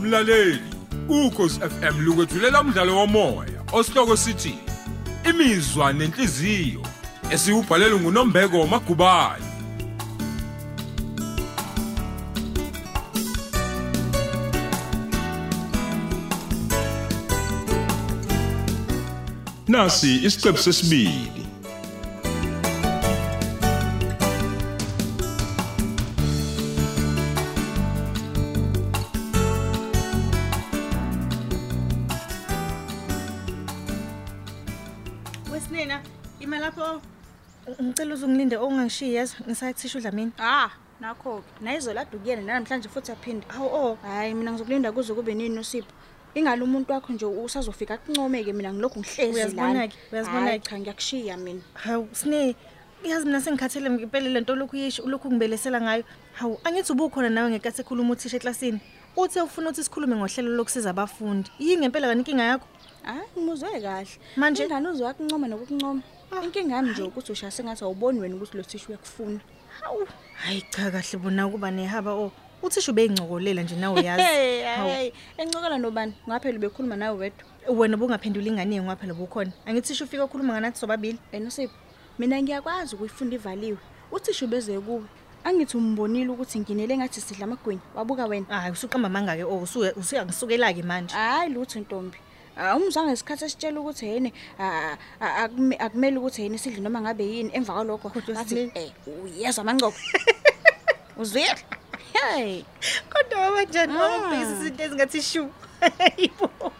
mlaleli ukhosi FM lukwethulela umdlalo womoya osihloko sithi imizwa nenhliziyo esiyubhalelwe nguNombeko Magubane Nasi isiqephu sesibili. Wesinina, ima lapho. Ngicela Oh, uzungilinde ongangishiyi yezwa ngisayathisha udlamini. Ah, nakho ke. Nayizola dukiyene namhlanje futhi aphinde. Hawu oh, Hayi mina ngizokulinda kuze kube nini uSipho. Ingalo umuntu wakho nje usazofika kuncomeke mina ngilokhu ngihlezi Uyazibona-ke, lana. uyazibona-ke. Hhayi, Cha ngiyakushiya mina. hawu sine yazi mina sengikhathele ngipele lento lokhu yisho lokhu ngibelesela ngayo. Hawu angithi ubukhona nawe ngenkathi ekhuluma uthisha eklasini. Uthe ufuna ukuthi sikhulume ngohlelo lokusiza abafundi. Yini ngempela kanike inkinga yakho? Hayi ngimuzwe kahle. Manje- Ah. ingane uzwa kuncoma nokukuncoma. Inkinga yami nje ukuthi usha sengathi awuboni wena ukuthi lo thisha uyakufuna. Hawu. Hayi cha kahle bona kuba nehaba oh. Uthisha ubeyincokolela nje nawe Hey, yazi. Hawu, hayi. Encokola nobani? Ngaphela ubekhuluma nawe wedwa. Wena ubungaphenduli ingane yengwa phela ubukhona. Angithisha ufika ukhuluma nganathi sobabili. Wena Sipho, mina ngiyakwazi ukuyifunda ivaliwe. Uthisha ubeze kuwe. Angithi umbonile ukuthi nginele ngathi sidla amagwinya. Wabuka wena. Hayi usuqamba manga ke oh usuya usuyangisukela ke manje. Hayi lutho ntombi. Ah, Umzange isikhathi esitshela ukuthi yena ah, ah, akume- akumele ukuthi yena sidle noma ngabe yini emva kwalokho Kodwa bathi Sibili- eh uyezwa mangcobo. Uzwile? Hey. kodwa wabanjani wawubhizi Mm. izinto ezingathi shu Yebo.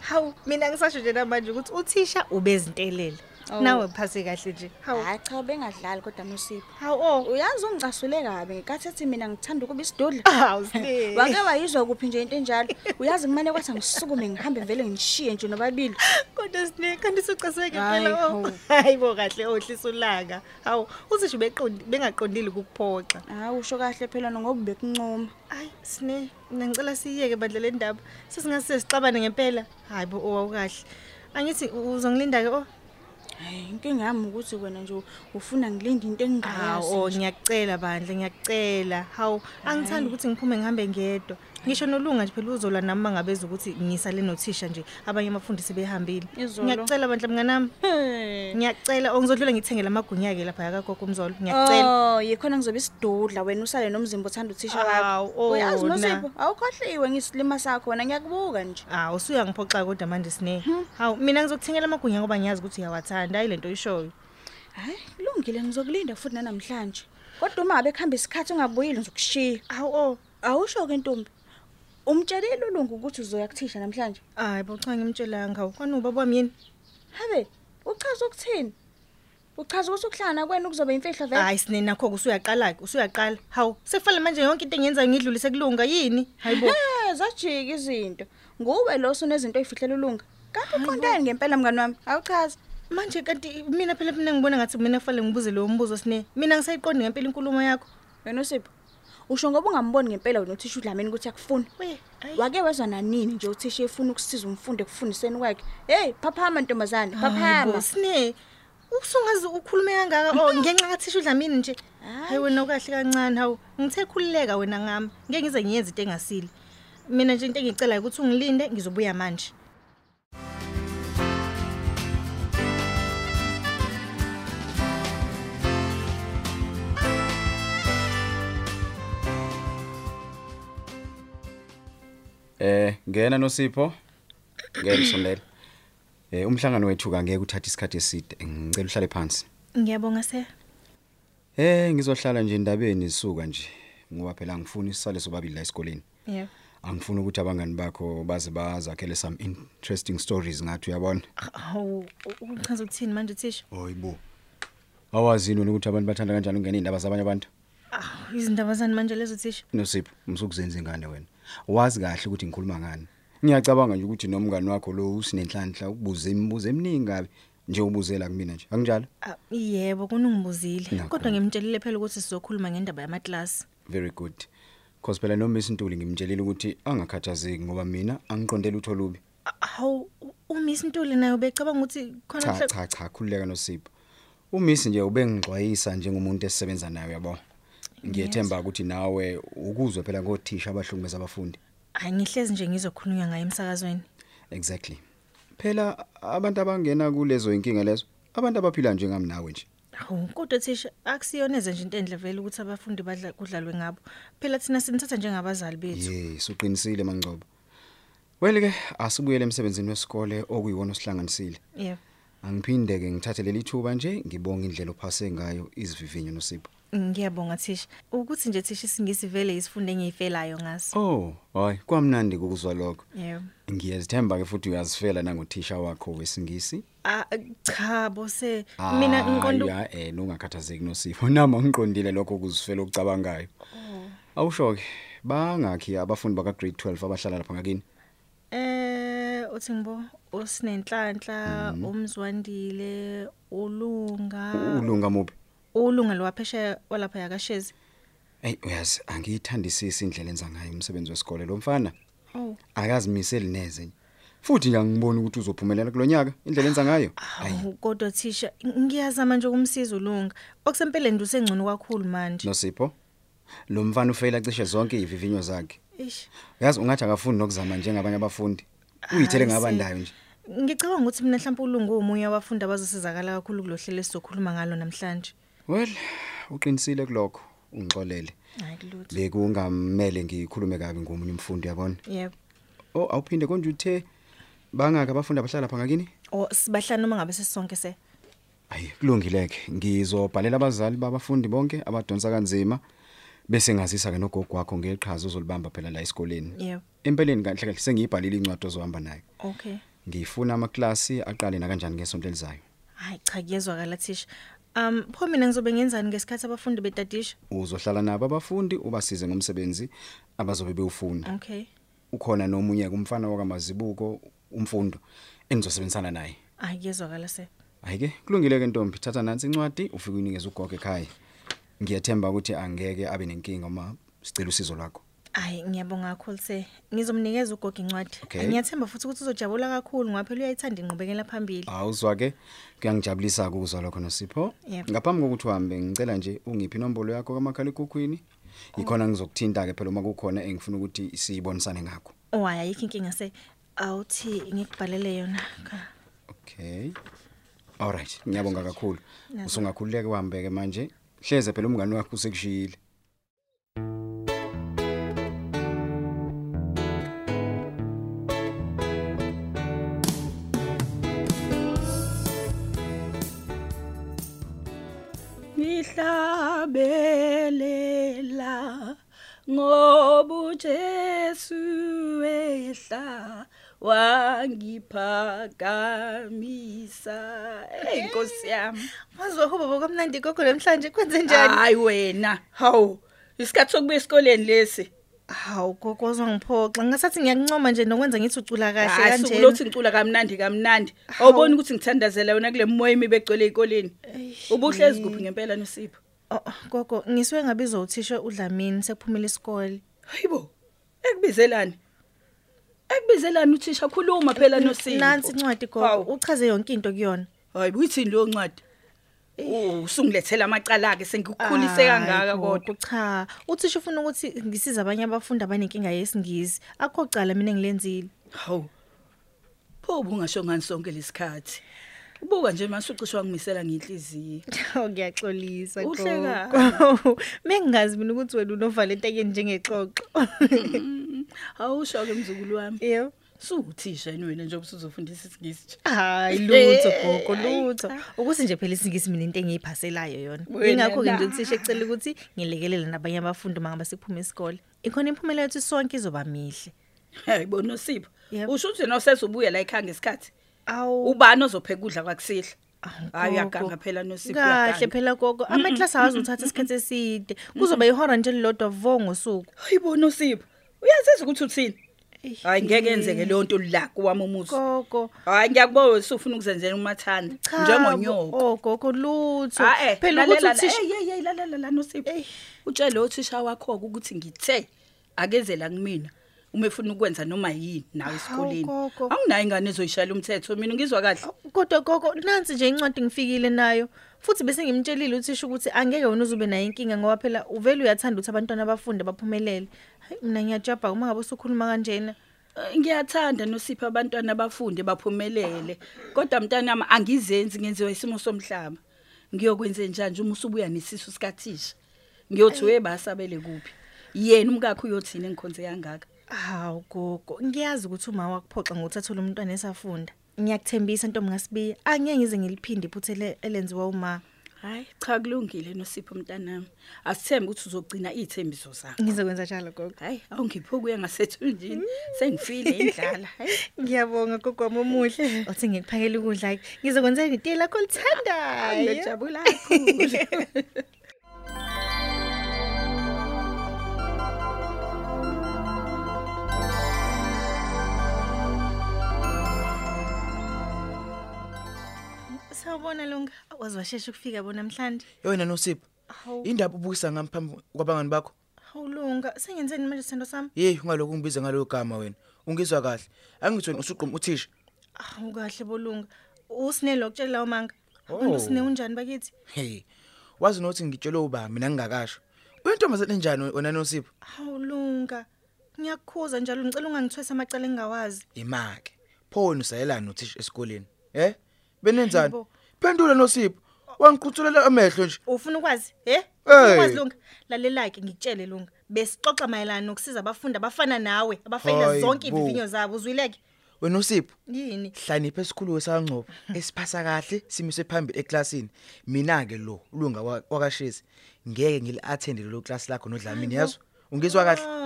hawu mina ngisasho nje namanje ukuthi uthisha ubezintelele Oh. nawe phase kahle nje hawu Hayi cha bengadlali kodwa nosipho. hawu oh Uyazi ungicasule kabi ngenkathi ethi mina ngithanda ukuba isidudla. hawu Sne. Wake wayizwa kuphi nje into enjalo. Uyazi kumele kwathi ngisukume ngihambe vele ngishiye nje nobabili. kodwa sine kanti sucaseke Hhayi, phela oh hawu. hayibo kahle ohlisa ulaka hawu uthisha ubeqondi- bengaqondile ukukuphoxa Hayi usho kahle phela ngoba bekuncoma. hayi sine mina ngicela siyiyeke bandla le ndaba sesingase sixabane ngempela hayi bo owawukahle angithi u- uzongilinda-ke oh Hayi inkinga yami ukuthi wena nje ufuna ngilinde into engingayazi. hawu oh, ngiyakucela bandla ngiyakucela hawu angithandi ukuthi ngiphume ngihambe ngedwa ngisho nolunga nje phela uzolwa nami mangabeza ukuthi ngisale nothisha nje abanye abafundi sebehambile Izolo. ngiyakucela bandla mnganami Hey. ngiyacela oh ngizodlula ngithengele amagunya-ke lapha yakagogo umzolo ngiyacela Oh, yikhona ngizobe isidudla wena usale nomzimba uthanda uthisha Hawu, wakho. oh, Uyazi na. nosipho, awukhohliwe ngisilima sakho wena ngiyakubuka nje. hawu Ah, usuyangiphoxa kodwa manje sine hawu mina ngizokuthengela amagunya ngoba ngiyazi ukuthi uyawathanda hayi lento oyishoyo Hayi kulungile ngizokulinda futhi nanamhlanje. Kodwa uma ngabe khamba isikhathi ungabuyile ngizokushiya. hawu oh, o Awusho ke ntombi. Umtshelile ulungu ukuthi uzoya kuthisha namhlanje. hayi bocha ngimtshelanga hawu kwani ubaba wami yini Habe, uchaza ukuthini? Uchaza ukuthi ukuhlana kwenu kuzobe imfihlo vele. hayi sine nakho-ke usuyaqala-ke usuyaqala hawu sekufanele manje yonke into engiyenzayo ngidlulise kulunga yini hayi bo He, zajika izinto. Nguwe lo sunezinto oyifihlela ulunga. Kanti uqondani ngempela mngani wami? Awuchaza. manje kanti mina phela mina ngibona ngathi mina kufanele ngibuze lowo mbuzo sine mina ngisayiqondi ngempela inkulumo yakho Wena Sipho. Usho ngoba ungamboni ngempela wena uthisha uDlamini ukuthi akufuni. We, ayi. Wake wezwa nanini nje uthisha efuna ukusiza umfundi ekufundiseni kwakhe. Hey, phaphama ntombazane, Hayi bo, phaphama. sine usungazi ukhulume kangaka oh ngenxa kathisha udlamini nje Hayi. hayi wena ukahle kancane hawu ngithe khululeka wena ngami ngeke ngize ngiyenze into engasile mina nje into engicelayo ukuthi ungilinde ngizobuya manje Eh ngena noSipho. Ngeke sondela. Eh umhlangano wethu ka ngeke uthathe isikhathi eside. Ngicela uhlale phansi. ngiyabonga se Eh ngizohlala nje indabeni isuka nje. Ngoba phela angifuni isale sobabili la esikoleni. yebo Angifuni ukuthi abangani bakho baze bazakhele some interesting stories ngathi uyabona. hawu uchaza ukuthini manje thisha Hoyibo. Awazini wena ukuthi abantu bathanda kanjani ukungena indaba zabanye abantu? Ah, izindaba zani manje lezo thisha Nosipho, umsukuzenza ingane wena. Wazi kahle ukuthi ngikhuluma ngani. Ngiyacabanga nje ukuthi nomngani wakho lo usinenhlanhla ukubuza imibuzo eminingi kabi nje ubuzela kumina nje. Akunjalo? Ah, yebo kunungibuzile Nakho. kodwa ngimtshelile phela ukuthi sizokhuluma ngendaba yamaklasi Very good. Cause phela noma isintuli ngimtshelile ukuthi angakhathazeki ngoba mina angiqondele utho lubi. Ah, hawu u- umiss ntuli naye ubecabanga ukuthi khona Cha mhla- cha cha khululeka noSipho. Umiss nje ubengixwayisa njengomuntu esisebenza naye yabo. Ngiyethemba ukuthi nawe ukuzwe phela ngothisha abahlukumeza abafundi. hayi ngihlezi nje ngizokhulunywa ngayo emsakazweni exactly phela abantu abangena kulezo inkinga lezo abantu abaphila njengami nawe nje hawu kodwa thisha akusiyoneze nje into enhle vele ukuthi abafundi badla kudlalwe ngabo phela thina sinithatha njengabazali bethu yes uqinisile mangcobo well ke asibuyele emsebenzini wesikole okuyiwona osihlanganisile yebo angiphinde ke ngithathe leli thuba nje ngibonge indlela ophase ngayo izivivinyo nosipho ngiyabonga thisha ukuthi nje thisha isingisi vele isifunde engiyifelayo ngaso oh hayi kwamnandi ukuzwa lokho yebo ngiyazithemba ke futhi uyazifela nangothisha wakho wesingisi Ah, cha bose mina ngiqonda ya eh ungakhathazeki nosipho nami ngiqondile lokho ukuzifela okucabangayo awusho ke bangakhi abafundi baka grade 12 abahlala lapha ngakini eh uthi ngibo usinenhlanhla Mm-hmm. umzwandile ulunga ulunga muphi ulunga lowaphesheya walapha yakashezi Ey uyazi angiyithandisisi indlela enza ngayo umsebenzi wesikole lo mfana oh akazimiseli neze nje. futhi nje angiboni ukuthi uzophumelela kulonyaka indlela enza ngayo Ayi, awu kodwa thisha ngiyazama nje ukumsiza ulunga okusempeleni nje usengcono kakhulu manje nosipho lo mfana ufeyila cishe zonke izivivinyo zakhe ish uyazi ungathi akafundi nokuzama njengabanye abafundi uyithele Hayi, ngabandayo nje ngicabanga ukuthi mina mhlawumbe ulunga umunye wabafundi abazosizakala kakhulu kulohlelo esizokhuluma ngalo namhlanje well uqinisile kulokho ungixolele hayi kulutho bekungamele ngikhulume kabi ngomunye umfundi yabona yebo oh awuphinde konje uthe bangaka abafundi abahlala lapha ngakini o Oh, sibahlanu noma ngabe sesonke se Hayi kulungileke ngizobhalela abazali babafundi bonke abadonsa kanzima bese ngazisa ke nogogo wakho ngeqhaza uzolibamba phela la esikoleni. yebo Empeleni kahle kahle sengiyibhalile incwadi ozohamba nayo. okay Ngifuna amaklasi aqale na kanjani ngesonto elizayo. hayi cha kuyezwakala thisha um pho mina ngizobe ngenzani ngesikhathi abafundi betadisha Uzohlala nabo abafundi ubasize ngomsebenzi abazobe bewufuna. okay Ukhona nomunye kumfana wakamazibuko umfundo engizosebenzisana naye. hayi kuyezwakala se Ayike kulungileke ntombi thatha nansi incwadi ufike unikeze ugogo ekhaya. Ngiyathemba ukuthi angeke abe nenkinga uma sicela usizo lakho. hayi ngiyabonga kakhulu se ngizomnikeza ugogo incwadi Okay. ngiyathemba futhi ukuthi uzojabula kakhulu ngoba phela uyayithanda inqubekela phambili Awuzwa ke kuyangijabulisa ukuzwa lokho Nosipho. Yebo. Ngaphambi kokuthi uhambe ngicela nje ungiphi inombolo yakho kamakhala ekhukhwini. Ikhona ngizokuthinta ke phela uma kukhona engifuna ukuthi siyibonisane ngakho. oh hayi ayikho inkinga se awuthi ngikubhalele yona Ka- Okay. Alright, ngiyabonga kakhulu. Ngiyabonga. Usungakhululeka uhambe ke manje. Hleze phela umngani wakho usekushiyile. ngihlabelela ngoba uJesu ehla wangiphakamisa hey Nkosi yami Wazi wakuba bokomnandi gogo lemhlanje kwenze njani? hayi wena hawu isikhathi sokuba esikoleni lesi Ah, Hawu gogo wazongiphoxa. Ngasathi ngiyakuncoma nje nokwenza ngithi ucula kahle hayi kanje. sukulothi ngicula kamnandi kamnandi awuboni ukuthi ngithandazela wena kule moya imi begcwele ezikoleni ubuhle eziguphi ngempela nosipho Oh, Gogo ngisuke ngabizwa uthisha uDlamini sekuphumile isikole. hayibo ekubizelani ekubizelani uthisha khuluma phela nosipho Nansi incwadi gogo Hawu. uchaze yonke into kuyona. hayi uyithini leyo ncwadi usungilethela amacala ke sengikukhulise kangaka Eh. Hayi, gogo, kodwa Cha, uthisha ufuna ukuthi ngisize abanye abafundi abanenkinga yesingisi. Akho cala mina ngilenzile. hawu pho ubungasho ngani sonke lesikhathi ubuka nje manje ucishwa ngimisela ngenhliziyo Oh ngiyaxolisa Uhle gogo. Mengazi mina ukuthi wena unovalenteke njengexoxo. Mm-hmm. awusho ke mzukulu wami Yebo. suwuthisha yini wena nje obusuzofundisa isingisi nje hayi lutho Eh, gogo hayi lutho ukuthi nje phela isingisi mina into engiyiphaselayo yona Wena ingakho-ke nje la. uthisha ecela ukuthi ngilekelele nabanye abafundi uma ngabe siphuma isikole ikhona imiphumela yethu sonke izoba mihle hayi bona usipho Yep. usho ukuthi nosese ubuye la ekhaya ngesikhathi awu ubani ozophe kudla kwakusihla Awu, hayi gogo. uyaganga phela nosipho kahle uyaganga phela gogo amaklasi awazuthatha isikhathi eside kuzoba ihora nje lilodwa vo ngosuku hayi bona usipho uyazazi ukuthi uthini hayi ngeke yenzeke leyo nto la kuwami umuzi gogo hayi ngiyakubona wena usufuna ukuzenzela umathanda cha, njengonyoko bo- oh gogo lutho Ah, eh, phela ukuthi lalela la. uthisha Ey, ey, ey, lalela la Nosipho. Utshele othisha wakho ukuthi ngithe akezela kumina uma efuna ukwenza noma yini nawe esikoleni Hawu, gogo. anginayo ingane ezoyishaya umthetho mina ngizwa kahle Oh, kodwa gogo nansi nje incwadi ngifikile nayo futhi bese ngimtshelile uthisha ukuthi angeke wena uzube nayo inkinga ngoba phela uvele uyathanda ukuthi abantwana bafunde baphumelele hayi mina ngiyajabha uma ngabe usukhuluma kanjena Eh, ngiyathanda nosipho abantwana bafunde baphumelele kodwa mntanami angizenzi ngenziwa isimo somhlaba ngiyokwenze njani uma usubuya nesisu sikathisha ngiyothi webasabele kuphi yena umkakho uyothina engikhonze kangaka hawu gogo ngiyazi ukuthi uma wakuphoxa ngokuthathela umntwana esafunda ngiyakuthembisa ntombi ngasibiya angeke ngize ngiliphinde iphuthe ele- elenziwa uma hayi cha kulungile nosipho mntanami asithembe ukuthi uzogcina iy'thembiso zakho ngizokwenza njalo gogo hayi awungiphukuye ngasethunjini sengifile indlala hayi ngiyabonga gogo wami omuhle uthi ngikuphakele ukudla ke ngizokwenzela itiye lakho olithandayo ngijabula kakhulu sawubona lunga waze washesha ukufika bo namhlanje yona nosipho hawu indaba ubukisa ngami phambi kwabangani bakho hawu lunga sengenzeni manje sithando sami yeyi ungalokhu ungibiza ngalo gama wena ungizwa kahle angithi wena usugquma uthisha hawu kahle bolunga usinelo okutshela lawo manga abantu Oh. usine unjani bakithi hey wazi nokuthi ngitshele uba mina ngingakasho uyintombazane enjani wena nosipho hawu lunga ngiyakukhuza njalo ngicela ungangithwesa amacala engingawazi imake pho wena usayelani nothisha esikoleni eh benenzani Yebo. phendula nosipho wangiquthulela amehlo nje ufuna ukwazi he Ufuna Hey. ukwazi lunga lalela-ke ngikutshele lunga besixoxa mayelana nokusiza abafundi abafana nawe abafeyila Hayi zonke bo. ivivinyo zabo uzwileke wena usipho yini hlakaniphe esikhulu sangcobo esiphasa kahle simise phambili eklasini mina ke lo ulunga wa- wakashisi ngeke ngili attend lelo class lakho nodlamini yazo ungizwa kahle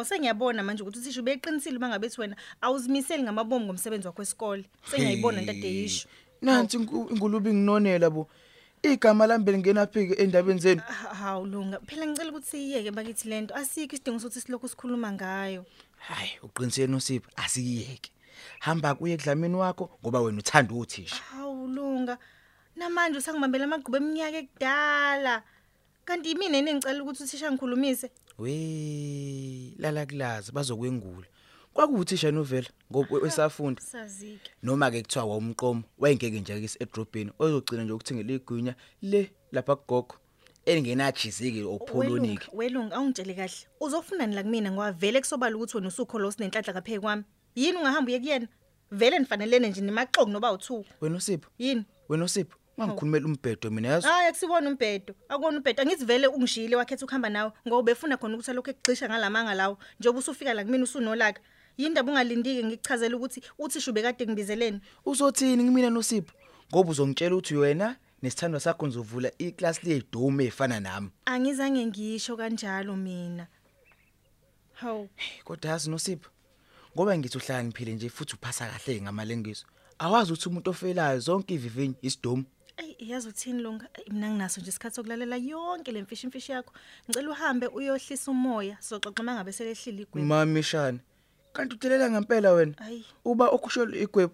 Oh, sengiyabona manje ukuthi uthisha ubeqinisile uma ngabe ethi wena awuzimiseli ngamabomu ngomsebenzi wakho wesikole sengiyayibona ntade yisho nansi inku- ingulube nginonela bo igama lami lingena phike endabeni zenu Ha- hawu lunga phela ngicela ukuthi siyiyeke bakithi lento asikho isidingo sokuthi silokhu sikhuluma ngayo hayi uqiniseni usipho asiyeke hamba kuye ekudlamini wakho ngoba wena uthanda uthisha hawu lunga namanje usangibambela amagqubu eminyaka ekudala kanti yimina yini engicela ukuthi uthisha ngikhulumise we lala kulazi bazokwengula kwakuwuthisha novela ngoba wesafunda sazike noma ke kuthiwa wawumqomo wayengeke nje akise edrobheni ozogcina nje ukuthengela igwinya le lapha kugogo elingenajiziki opholoniki Welunga, welunga awungitshele kahle uzofunani la kumina ngoba vele kusobala ukuthi wena usukholo usinenhlanhla kapheki kwami yini ungahamba uye kuyena vele nifanelene nje nimaxoki noba uthu wena usipho yini wena usipho ungangikhulumela umbhedo mina yazo hayi akusibona umbhedo akubona umbhedo angithi vele ungishiyile wakhetha ukuhamba nawe ngoba befuna khona ukuthi alokhu ekugxisha ngalamanga lawo njengoba usufika la kumina usunolaka yindaba ungalindiki ngikuchazela ukuthi uthisha ubekade ngibizeleni uzothini kimina nosipho ngoba uzongitshela ukuthi wena nesithandwa sakho nizovula iclass leyidume efana nami angizange ngisho kanjalo mina hawu kodwa yazi nosipho ngoba ngithi uhlakaniphile nje futhi uphasa kahle ngamalengiso awazi ukuthi umuntu ofelayo zonke ivivinyo isidomu eyi yazi uthini lunga Eyi, mina nginaso nje isikhathi sokulalela yonke le mfishi imfishi yakho ngicela uhambe uyohlisa umoya sizoxoxa uma ngabe selehlile igwebu mamishana kanti udelela ngempela wena Ayi. uba okusholo igwebu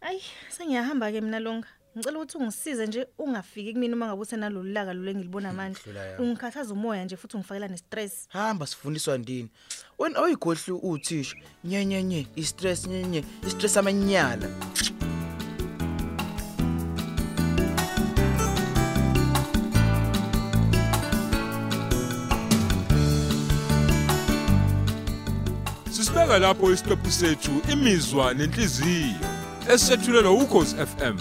ayi sengiyahamba-ke mina lunga ngicela ukuthi ungisize nje ungafiki kumina uma ngabe usenalolu laka lolu engilibona manje hlula yami. ungikhuthaza umoya nje futhi ungifakela ne-stress hamba sifundiswa ndini wena awuyigohli uthisha nyenyenye istress nyenye istress amanyala Sisibeka lapho isiqephu sethu imizwa nenhliziyo esethulelwa ukhozi FM